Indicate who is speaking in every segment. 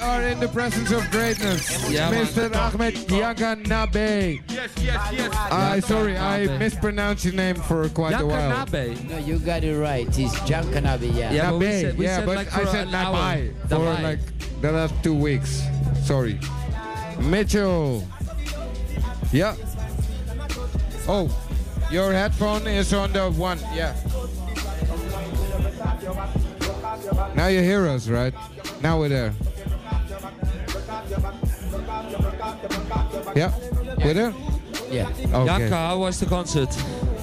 Speaker 1: are in the presence of greatness.
Speaker 2: Ja, man.
Speaker 1: Mr. Ahmed Yaganabe.
Speaker 3: Yes, yes, yes.
Speaker 1: I sorry, I mispronounced your name for quite a while.
Speaker 2: Yakanabe.
Speaker 4: No, you got it right. It's John Canabi, yeah.
Speaker 2: Yeah, but we
Speaker 1: Nabe,
Speaker 2: said- we
Speaker 1: yeah,
Speaker 2: said
Speaker 1: but
Speaker 2: like
Speaker 1: I
Speaker 2: for
Speaker 1: said
Speaker 2: an hour.
Speaker 1: Nabai for
Speaker 2: Nabai.
Speaker 1: like the last two weeks. Sorry. Mitchell. Yeah. Oh, your headphone is on the one. Yeah. Now you hear us, right? Now we're there. Yeah. We're there?
Speaker 4: yeah.
Speaker 1: Okay.
Speaker 2: Jaka, how was the concert?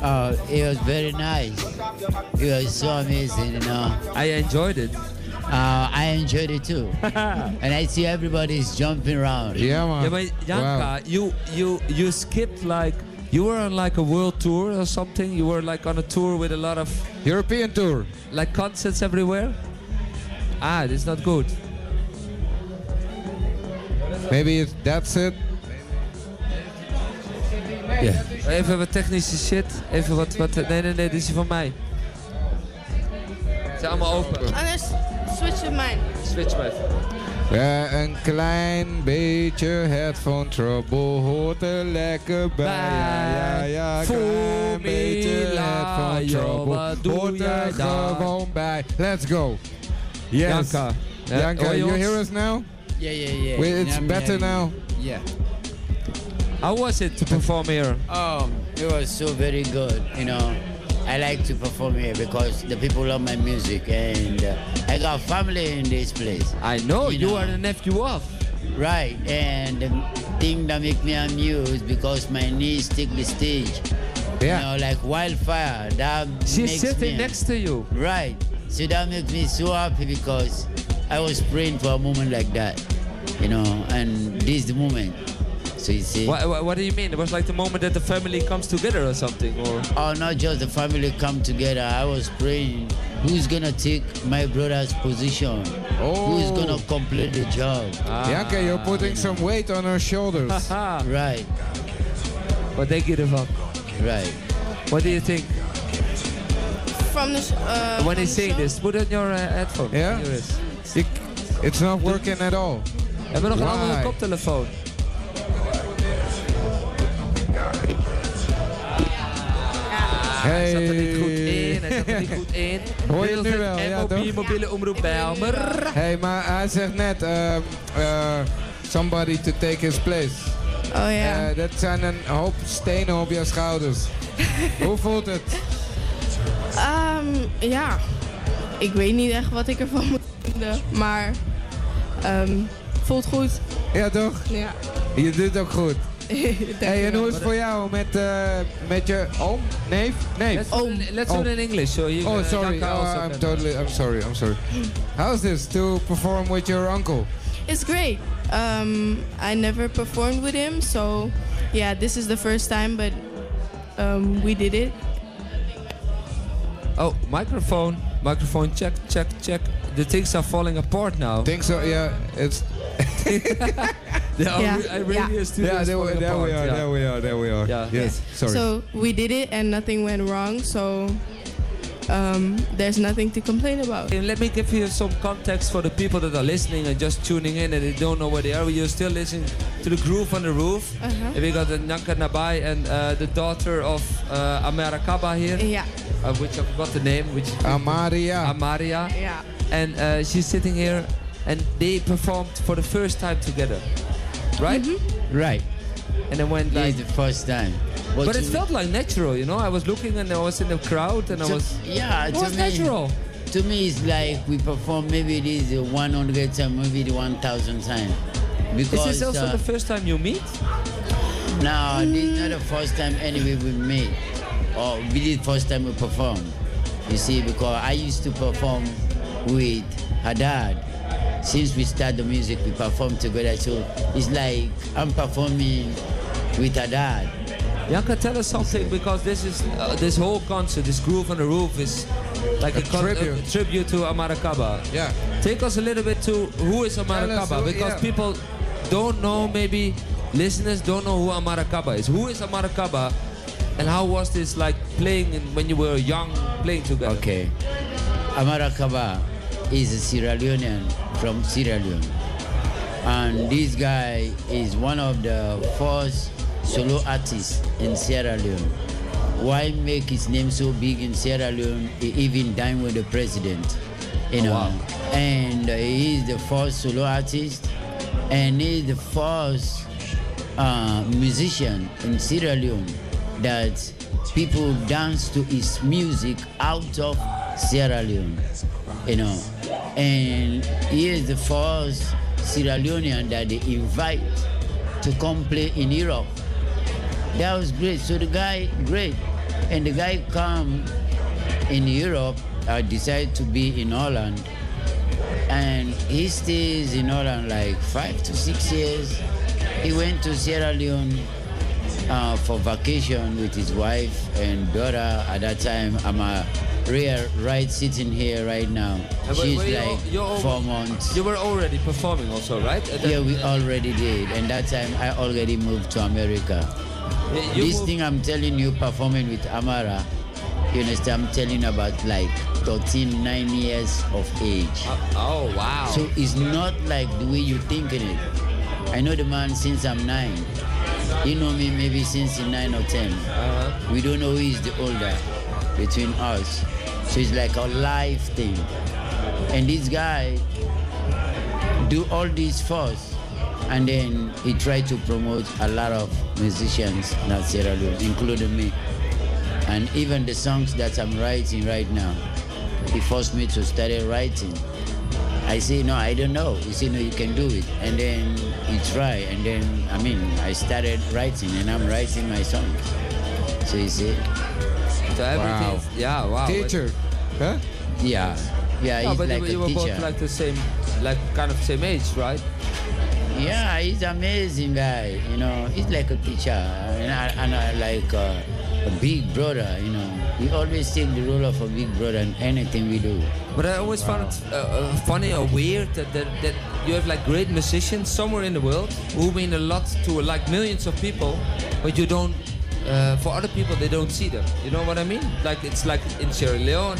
Speaker 4: Oh, it was very nice. It was so amazing, you know.
Speaker 2: I enjoyed it.
Speaker 4: Uh, I enjoyed it too. and I see everybody's jumping around.
Speaker 1: Yeah, man.
Speaker 2: Yeah, but Janka, you you you skipped like you were on like a world tour or something. You were like on a tour with a lot of
Speaker 1: Wow. European tour.
Speaker 2: like concerts everywhere. Ah, it's not good.
Speaker 1: Maybe it's, that's it.
Speaker 2: Ja. Even wat technische shit. Even wat wat. Nee nee nee, dit is die van mij. Ze zijn allemaal open.
Speaker 5: Anders switch with mine.
Speaker 2: Switch maar even.
Speaker 1: Ja, een klein beetje headphone trouble hoort er lekker bij. Ja, ja, ja,
Speaker 2: Voel
Speaker 1: klein
Speaker 2: me
Speaker 1: beetje
Speaker 2: la,
Speaker 1: headphone
Speaker 2: joh,
Speaker 1: trouble
Speaker 2: wat doe
Speaker 1: hoort er
Speaker 2: jij daar?
Speaker 1: gewoon bij. Let's go. Yes.
Speaker 2: Janka. Ja,
Speaker 1: Janka,
Speaker 2: hoor je
Speaker 1: you
Speaker 2: ons?
Speaker 1: hear us now?
Speaker 4: yeah, yeah. yeah.
Speaker 1: Wait,
Speaker 4: And
Speaker 1: it's
Speaker 4: I'm
Speaker 1: better
Speaker 4: hearing you.
Speaker 1: now.
Speaker 4: Yeah.
Speaker 2: How was it to perform here?
Speaker 4: Um, it was so very good. You know, I like to perform here because the people love my music, and uh, I got family in this place.
Speaker 2: I know
Speaker 4: You
Speaker 2: you
Speaker 4: know.
Speaker 2: are the nephew of.
Speaker 4: Right, and the thing that make me amused because my knees take the stage.
Speaker 1: Yeah.
Speaker 4: You know, like wildfire. That
Speaker 2: She's
Speaker 4: makes
Speaker 2: sitting
Speaker 4: me,
Speaker 2: next to you.
Speaker 4: Right. So that makes me so happy because I was praying for a moment like that, you know, and this the moment. So you see,
Speaker 2: What, what, what do you mean? It was like the moment that the family comes together or something, or
Speaker 4: oh, not just the family come together. I was praying, who's gonna take my brother's position? Who's
Speaker 1: Oh.
Speaker 4: gonna complete the job?
Speaker 2: Ah.
Speaker 1: Janka, you're putting some weight on her shoulders.
Speaker 2: Haha,
Speaker 4: Right,
Speaker 2: but Ah, they give up.
Speaker 4: right.
Speaker 2: What do you think?
Speaker 5: From the sh-
Speaker 2: when
Speaker 5: uh, from
Speaker 2: they
Speaker 5: the
Speaker 2: say
Speaker 5: show.
Speaker 2: this, put on your uh, headphone.
Speaker 1: Yeah?
Speaker 2: Here it is.
Speaker 1: Ik- it's not working at all.
Speaker 2: Hebben we nog een andere
Speaker 1: Why?
Speaker 2: koptelefoon? Hij
Speaker 1: Hey.
Speaker 2: zat er niet goed in, hij zat er niet goed in.
Speaker 1: Hoor je het nu
Speaker 2: Middelzet
Speaker 1: wel? Ja,
Speaker 2: MOB,
Speaker 1: toch?
Speaker 2: mobiele omroep Bijlmer.
Speaker 1: Hey, maar hij zegt net, ehm, eh, somebody to take his place.
Speaker 5: Oh ja.
Speaker 1: Eh, dat zijn een hoop stenen op je schouders. Hoe voelt het?
Speaker 5: Ehm, ja. Ik weet niet echt wat ik ervan moet vinden, maar ehm, voelt goed.
Speaker 1: Ja, toch?
Speaker 5: Ja.
Speaker 1: Je doet het ook goed. Hey, en
Speaker 5: Dankjewel.
Speaker 1: hoe is het voor jou met, eh, met je oom? Neef? Neef?
Speaker 2: Let's, do it- let's do it in English. So you,
Speaker 1: Oh,
Speaker 2: uh,
Speaker 1: sorry.
Speaker 2: Jacques also
Speaker 1: Uh, I'm
Speaker 2: can-
Speaker 1: totally. I'm sorry. I'm sorry. How's this to perform with your uncle?
Speaker 5: It's great. Um, I never performed with him, so yeah, this is the first time, but um, we did it.
Speaker 2: Oh, microphone. Microphone check, check, check. The things are falling apart now.
Speaker 1: Think so? Yeah. It's.
Speaker 2: Yeah, I
Speaker 5: Yeah.
Speaker 2: re- I really
Speaker 5: Yeah.
Speaker 2: is too
Speaker 1: Yeah.
Speaker 2: this
Speaker 1: There, we-
Speaker 2: falling
Speaker 1: there we
Speaker 2: apart,
Speaker 1: are.
Speaker 2: yeah.
Speaker 1: There we are. There we are.
Speaker 2: Yeah.
Speaker 1: Yes. Sorry.
Speaker 5: So we did it, and nothing went wrong. So um, there's nothing to complain about.
Speaker 2: And let me give you some context for the people that are listening and just tuning in and they don't know where they are. You're still listening to the groove on the roof.
Speaker 5: Uh-huh.
Speaker 2: And we got the Nanka Nabai and uh, the daughter of uh, Amara Kaba here,
Speaker 5: Yeah,
Speaker 2: uh, which I forgot the name, which
Speaker 1: Amaria.
Speaker 2: Amaria.
Speaker 5: yeah.
Speaker 2: And uh, she's sitting here and they performed for the first time together. Right?
Speaker 5: Mm-hmm.
Speaker 4: Right.
Speaker 2: And it went like.
Speaker 4: This is the first time.
Speaker 2: But it
Speaker 4: to-
Speaker 2: felt like natural, you know? I was looking and I was in the crowd and I
Speaker 4: to-
Speaker 2: was.
Speaker 4: yeah,
Speaker 2: It
Speaker 4: to
Speaker 2: was
Speaker 4: me-
Speaker 2: natural.
Speaker 4: To me, it's like we perform maybe this uh, 100 time, maybe the 1,000 time.
Speaker 2: Is
Speaker 4: Because
Speaker 2: this also
Speaker 4: uh,
Speaker 2: the first time you meet?
Speaker 4: no, this is not the first time anyway we meet, or really the first time we perform. You see, because I used to perform with Haddad. Since we start the music, we perform together. So it's like I'm performing with Haddad.
Speaker 2: Janka, tell us something because this is uh, this whole concert, this groove on the roof is like a, con-
Speaker 1: tribute.
Speaker 2: a tribute to Amarakaba.
Speaker 1: Yeah.
Speaker 2: Take us a little bit to who is
Speaker 1: Tell us who-
Speaker 2: Amarakaba because
Speaker 1: yeah.
Speaker 2: people don't know maybe listeners don't know who Amarakaba is. Who is Amarakaba, and how was this like playing in, when you were young playing together?
Speaker 4: Okay. Amara Kaba is a Sierra Leonean from Sierra Leone. and this guy is one of the first solo artists in Sierra Leone. Why make his name so big in Sierra Leone? He even dined with the president, you know. And uh, he is the first solo artist, and he is the first uh, musician in Sierra Leone that people dance to his music out of Sierra Leone, you know. And he is the first Sierra Leonean that they invite to come play in Europe. That was great. So the guy, great. And the guy come in Europe, uh, decided to be in Holland. And he stays in Holland like five to six years. He went to Sierra Leone uh, for vacation with his wife and daughter. At that time, I'm a real right sitting here right now.
Speaker 2: And were-
Speaker 4: She's
Speaker 2: were you al-
Speaker 4: like
Speaker 2: you're al-
Speaker 4: four months.
Speaker 2: You were already performing also, right? At that-
Speaker 4: Yeah, we already did, and that time I already moved to America.
Speaker 2: you
Speaker 4: this
Speaker 2: moved-
Speaker 4: thing I'm telling you, performing with Amara, you understand? I'm telling about like 13, 9 years of age.
Speaker 2: Uh, oh, wow.
Speaker 4: So it's not like the way you're thinking it. I know the man since I'm nine. He know me maybe since he nine or ten.
Speaker 2: Uh-huh.
Speaker 4: We don't know who is the older between us. So it's like a life thing. And this guy do all this first, and then he tried to promote a lot of musicians in Sierra Leone, including me. And even the songs that I'm writing right now, he forced me to start writing. I say, no, I don't know. He said, no, you can do it. And then you try. And then, I mean, I started writing and I'm writing my songs. So you see,
Speaker 2: So everything. Yeah, wow.
Speaker 1: Teacher. Huh?
Speaker 4: yeah. Yeah,
Speaker 2: No,
Speaker 4: he's
Speaker 2: but
Speaker 4: like
Speaker 2: you, you
Speaker 4: a
Speaker 2: were
Speaker 4: teacher.
Speaker 2: both like the same, like kind of same age, right?
Speaker 4: Yeah, he's amazing guy. You know, he's like a teacher and, I- and I like a, a big brother. You know, he always take the role of a big brother in anything we do.
Speaker 2: But I always found it uh, uh, funny or weird that, that, that you have like great musicians somewhere in the world who mean a lot to like millions of people, but you don't. Uh, for other people, they don't see them. You know what I mean? Like it's like in Sierra Leone,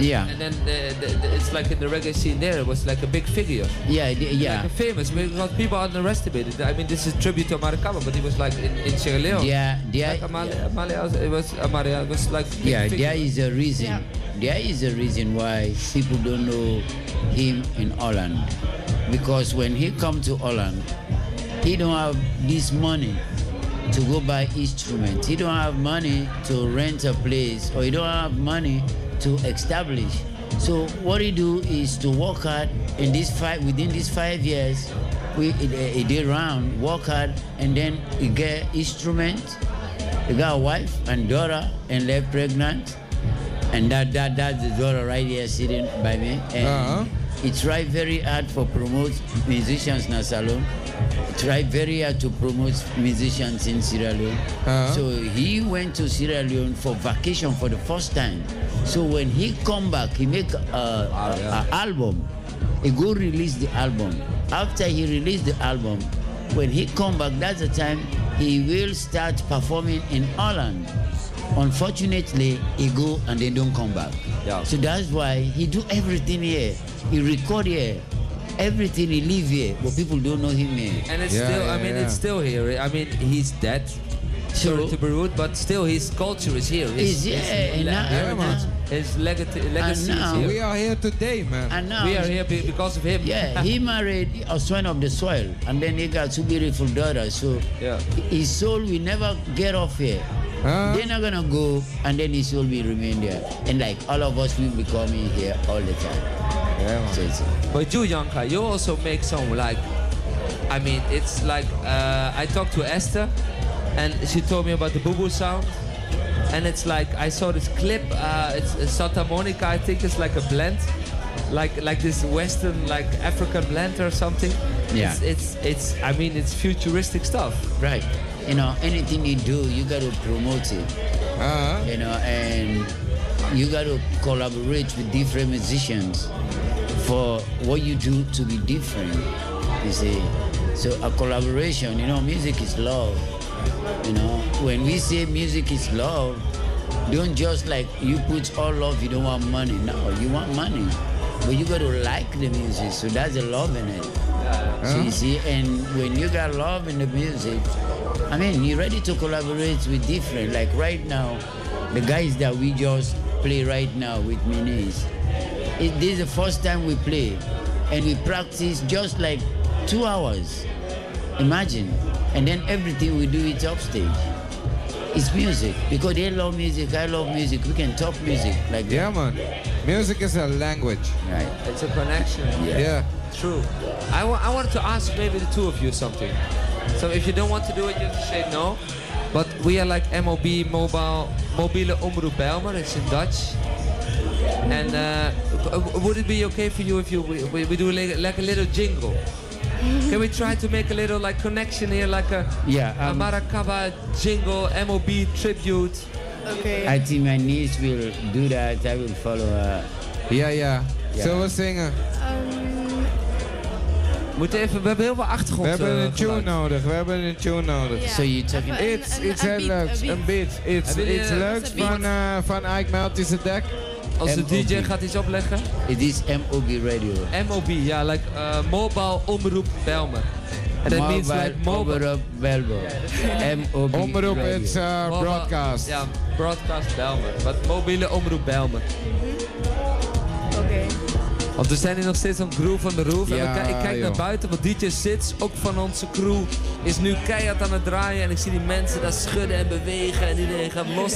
Speaker 4: Yeah,
Speaker 2: and then the, the, the- it's like in the reggae scene there. It was like a big figure,
Speaker 4: yeah, the- yeah.
Speaker 2: like a famous because people underestimated. I mean, this is tribute to Maracaba, but he was like in, in Sierra Leone.
Speaker 4: Yeah, there,
Speaker 2: Like Amalia, Amalia, was- it was Amalia was like big
Speaker 4: yeah,
Speaker 2: figure.
Speaker 4: there is a reason. There is a reason why people don't know him in Holland, because when he come to Holland, he don't have this money to go buy instruments. He don't have money to rent a place, or he don't have money to establish. So what he do is to work hard in this five within these five years. We he did round work hard and then he get instrument he got a wife and daughter and left pregnant. And that, that that's the daughter right here sitting by me. And
Speaker 1: Uh-huh.
Speaker 4: he tried very hard for promote musicians in Salon. He tried very hard to promote musicians in Sierra Leone.
Speaker 1: Uh-huh.
Speaker 4: So he went to Sierra Leone for vacation for the first time. So when he come back, he make a, a-
Speaker 2: yeah.
Speaker 4: a album. He go release the album. After he released the album, when he come back, that's the time he will start performing in Holland. Unfortunately, he go and they don't come back.
Speaker 2: Yeah.
Speaker 4: So that's why he do everything here. He record here. Everything he live here, but people don't know him here.
Speaker 2: And it's
Speaker 1: Yeah,
Speaker 2: still, I
Speaker 1: yeah,
Speaker 2: mean,
Speaker 1: yeah.
Speaker 2: it's still here. I mean, he's dead. Sorry
Speaker 4: True.
Speaker 2: to be rude, but still, his culture is here.
Speaker 4: Is yeah, and now,
Speaker 1: Yeah, man.
Speaker 2: his legacy, legacy is
Speaker 4: now-
Speaker 2: here.
Speaker 1: We are here today, man.
Speaker 4: and now
Speaker 2: we are here be- because of him.
Speaker 4: Yeah, he married a son of the soil, and then he got two beautiful daughters. So
Speaker 2: Yeah.
Speaker 4: his soul will never get off here.
Speaker 1: Huh?
Speaker 4: They're not gonna go, and then his soul will remain there. And like all of us, we be coming here all the time.
Speaker 1: Yeah,
Speaker 4: So it's-
Speaker 2: But you, Janka, you also make some like, I mean, it's like uh, I talked to Esther, and she told me about the boo boo sound, and it's like I saw this clip. Uh, it's, it's Santa Monica, I think it's like a blend, like like this Western, like African blend or something.
Speaker 4: Yeah.
Speaker 2: It's it's, it's I mean, it's futuristic stuff.
Speaker 4: right. You know, anything you do, you gotta promote it.
Speaker 1: Uh-huh.
Speaker 4: you know, and you got to collaborate with different musicians for what you do to be different. You see, so a collaboration, you know, music is love. You know, when we say music is love, don't just like you put all love. You don't want money. No, you want money, but you got to like the music. So that's the love in it. So you see, and when you got love in the music, I mean, you're ready to collaborate with different. Like right now, the guys that we just play right now with Minis, it, this is the first time we play, and we practice just like two hours. Imagine, and then everything we do is upstage. It's music because they love music. I love music. We can talk music like
Speaker 1: Yeah, man.
Speaker 4: that.
Speaker 1: Music is a language.
Speaker 4: Right.
Speaker 2: It's a connection.
Speaker 1: Yeah.
Speaker 2: True. I, wa- I wanted to ask maybe the two of you something. So if you don't want to do it, you have to say no. But we are like MOB, mobile, mobile omroep Bijlmer. It's in Dutch. And uh, w- would it be okay for you if you we, we- we do like, like a little jingle? Can we try to make a little like connection here, like a
Speaker 4: Yeah,
Speaker 2: a
Speaker 4: um,
Speaker 2: Maracaba jingle, MOB tribute?
Speaker 5: Oké.
Speaker 4: I think my niece will do that. I will follow her.
Speaker 1: Ja, ja.
Speaker 4: Ja.
Speaker 1: Zullen we zingen?
Speaker 5: Ehm,
Speaker 2: Moet even, we hebben heel veel achtergrond.
Speaker 1: We hebben
Speaker 2: eh,
Speaker 1: een tune
Speaker 2: geluid.
Speaker 1: nodig. We hebben een tune nodig.
Speaker 5: ja.
Speaker 4: So you talking-
Speaker 5: Even een-
Speaker 1: Iets,
Speaker 5: een-
Speaker 1: iets
Speaker 5: een
Speaker 1: heel
Speaker 5: beat,
Speaker 1: leuks. Een
Speaker 5: beat.
Speaker 1: beat. Iets,
Speaker 2: Hebben
Speaker 1: iets
Speaker 2: jullie, eh,
Speaker 1: leuks
Speaker 5: een beat?
Speaker 1: van, eh van Ike Meltische Dek.
Speaker 2: Als de
Speaker 4: MOB.
Speaker 2: DJ gaat iets opleggen.
Speaker 4: It is MOB Radio.
Speaker 2: MOB, yeah, like uh, mobile omroep Belmer. That means like mobile.
Speaker 4: Omroep Belbo. MOB
Speaker 1: Omroep,
Speaker 4: Radio.
Speaker 1: it's uh,
Speaker 2: mobile-
Speaker 1: broadcast.
Speaker 2: Yeah, broadcast Belmer. But mobiele omroep Belmer.
Speaker 5: Oké.
Speaker 2: Want we zijn hier nog steeds aan het groove van de roof. en
Speaker 1: Ja,
Speaker 2: we ki- ik kijk naar
Speaker 1: joh.
Speaker 2: buiten, want DJ Sits, ook van onze crew, is nu keihard aan het draaien. En ik zie die mensen daar schudden en bewegen en iedereen gaat los.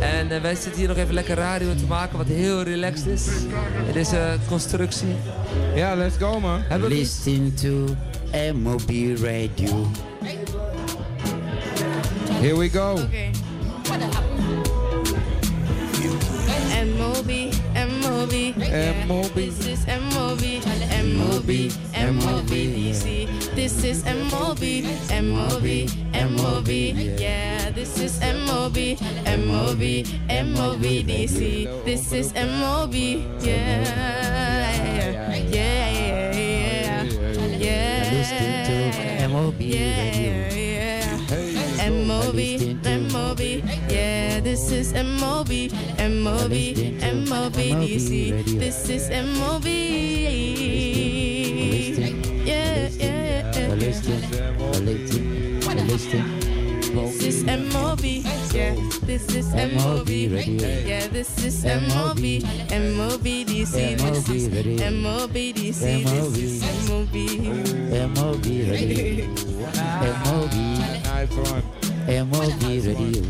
Speaker 2: En eh, wij zitten hier nog even lekker radio te maken, wat heel relaxed is. In deze constructie.
Speaker 1: Ja, let's go, man.
Speaker 2: Hebben we-
Speaker 4: Listen to MOB Radio.
Speaker 1: Here we go.
Speaker 5: Oké. En Moby, en Moby,
Speaker 1: En Eh, Moby.
Speaker 5: This is en Moby, en Moby, en Moby, easy. This is en Moby, en Moby, en Moby, yeah. This is en Moby, en Moby, en Moby, DC. This is en Moby, yeah, yeah, yeah, yeah, yeah.
Speaker 4: Listen to MOB
Speaker 5: Yeah,
Speaker 4: Radio.
Speaker 5: yeah.
Speaker 1: Hey.
Speaker 5: M-O-B, M-O-B, yeah, this is M-O-B, M-O-B, M-O-B, DC, this is M-O-B, yeah, yeah, yeah, yeah.
Speaker 4: Listen, listen, listen.
Speaker 5: This is M-O-B, yeah, this is M-O-B, yeah, this is M-O-B, M-O-B, DC, this is M-O-B, DC, this is M-O-B.
Speaker 4: MOB Radio. MOB,
Speaker 1: Nice one.
Speaker 4: MOB Radio.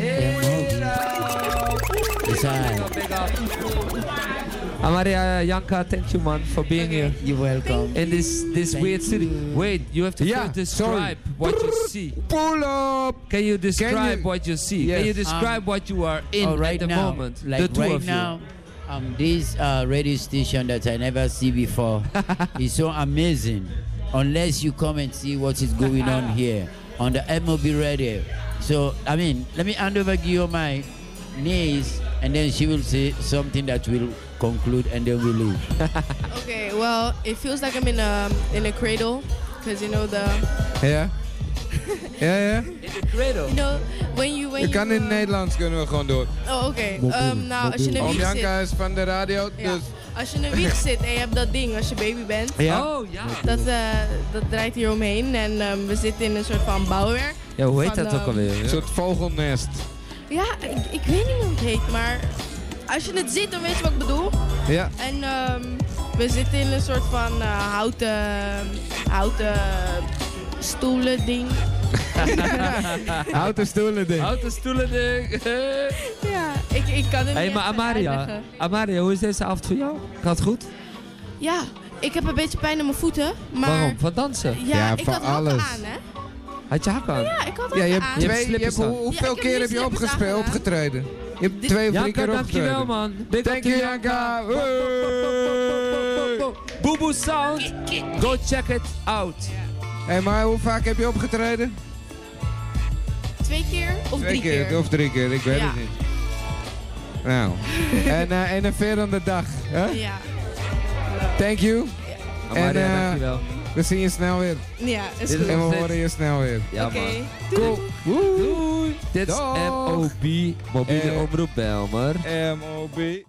Speaker 1: eh,
Speaker 4: MOB. It's all.
Speaker 2: Big up. Amaria Janka, thank you man for being here
Speaker 4: You're welcome.
Speaker 2: in this this weird city. Wait, you have to
Speaker 1: Yeah,
Speaker 2: first describe what you see.
Speaker 1: Pull up.
Speaker 2: Can you describe
Speaker 1: you-
Speaker 2: what you see?
Speaker 1: Yes.
Speaker 2: Can you describe what you are in
Speaker 4: Oh, right
Speaker 2: at the
Speaker 4: now,
Speaker 2: moment?
Speaker 4: Like
Speaker 2: the two
Speaker 4: right
Speaker 2: of you.
Speaker 4: now, um, this uh, radio station that I never see before is so amazing. Unless you come and see what is going on here on the MOB radio. So I mean, let me hand over Guillaume my niece, and then she will say something that will conclude, and then we leave.
Speaker 5: Okay, well, it feels like I'm in a, in a cradle, because you know the,
Speaker 1: Ja. Ja, ja.
Speaker 2: In the cradle.
Speaker 5: you know, when you, when
Speaker 1: Ik
Speaker 5: you...
Speaker 1: kan in het
Speaker 5: uh,
Speaker 1: Nederlands kunnen we gewoon door.
Speaker 5: Oh, oké.
Speaker 4: Mobiel,
Speaker 5: Ehm, nou, als je in een
Speaker 1: Oom
Speaker 5: wieg zit...
Speaker 1: Janka is van de radio,
Speaker 5: Ja.
Speaker 1: dus...
Speaker 5: Als je in een wieg zit en je hebt dat ding als je baby bent...
Speaker 2: Oh ja.
Speaker 5: Dat, eh, dat draait hier omheen en ehm, we zitten in een soort van bouwwerk.
Speaker 2: Ja, hoe heet
Speaker 5: Van,
Speaker 2: dat ook
Speaker 5: ehm,
Speaker 2: alweer?
Speaker 1: Een soort vogelnest.
Speaker 5: Ja, ik, ik weet niet hoe het heet, maar als je het ziet, dan weet je wat ik bedoel.
Speaker 1: Ja.
Speaker 5: En ehm, we zitten in een soort van eh, houten, houten stoelen ding.
Speaker 1: Houten stoelen ding.
Speaker 2: Houten stoelen ding. Hé,
Speaker 5: Ja, ik, ik kan het niet
Speaker 2: maar
Speaker 5: echt
Speaker 2: Amaria.
Speaker 5: uitleggen.
Speaker 2: Amaria, hoe is deze avond voor jou? Gaat goed?
Speaker 5: Ja, ik heb een beetje pijn aan mijn voeten, maar...
Speaker 2: Waarom? Van dansen?
Speaker 5: Ja,
Speaker 1: Ja,
Speaker 5: ik
Speaker 1: van
Speaker 5: had hakken
Speaker 1: alles.
Speaker 5: aan, hè?
Speaker 2: Had je hak aan?
Speaker 5: Ja, ik had hakken
Speaker 1: Ja, je
Speaker 5: aan.
Speaker 1: hebt
Speaker 2: Je hebt
Speaker 1: twee... Je
Speaker 2: slippers
Speaker 1: hebt,
Speaker 2: aan.
Speaker 1: hoe- hoeveel
Speaker 5: Ja, ik heb
Speaker 1: keer
Speaker 5: nu
Speaker 1: heb je
Speaker 5: slippers
Speaker 1: opgespeeld,
Speaker 5: aangedaan.
Speaker 1: opgetreden? Je hebt twee of drie
Speaker 2: Janka,
Speaker 1: keer opgetreden.
Speaker 2: dankjewel man. Big up
Speaker 1: Thank
Speaker 2: to
Speaker 1: you, Janka. Hey.
Speaker 2: Boo Boo Sound. Go check it out.
Speaker 1: Hey, maar hoe vaak heb je opgetreden?
Speaker 5: Twee keer of
Speaker 1: Twee
Speaker 5: drie
Speaker 1: keer of drie keer, ik weet
Speaker 5: Ja.
Speaker 1: het niet. Nou, en, eh, en een verende dag. Hè?
Speaker 5: Ja.
Speaker 1: Thank you.
Speaker 2: Amaria,
Speaker 1: En, eh,
Speaker 2: dankjewel.
Speaker 1: We zien je snel weer.
Speaker 5: Ja, is
Speaker 2: Dit
Speaker 5: goed.
Speaker 2: is-
Speaker 5: Oké.
Speaker 1: En we
Speaker 2: Nog
Speaker 1: horen je snel weer.
Speaker 2: Ja man.
Speaker 1: Cool. Woe.
Speaker 2: Doei. Dit is
Speaker 1: Dag.
Speaker 2: MOB, mobiele
Speaker 1: Eh.
Speaker 2: omroep Belmer.
Speaker 1: M.O.B.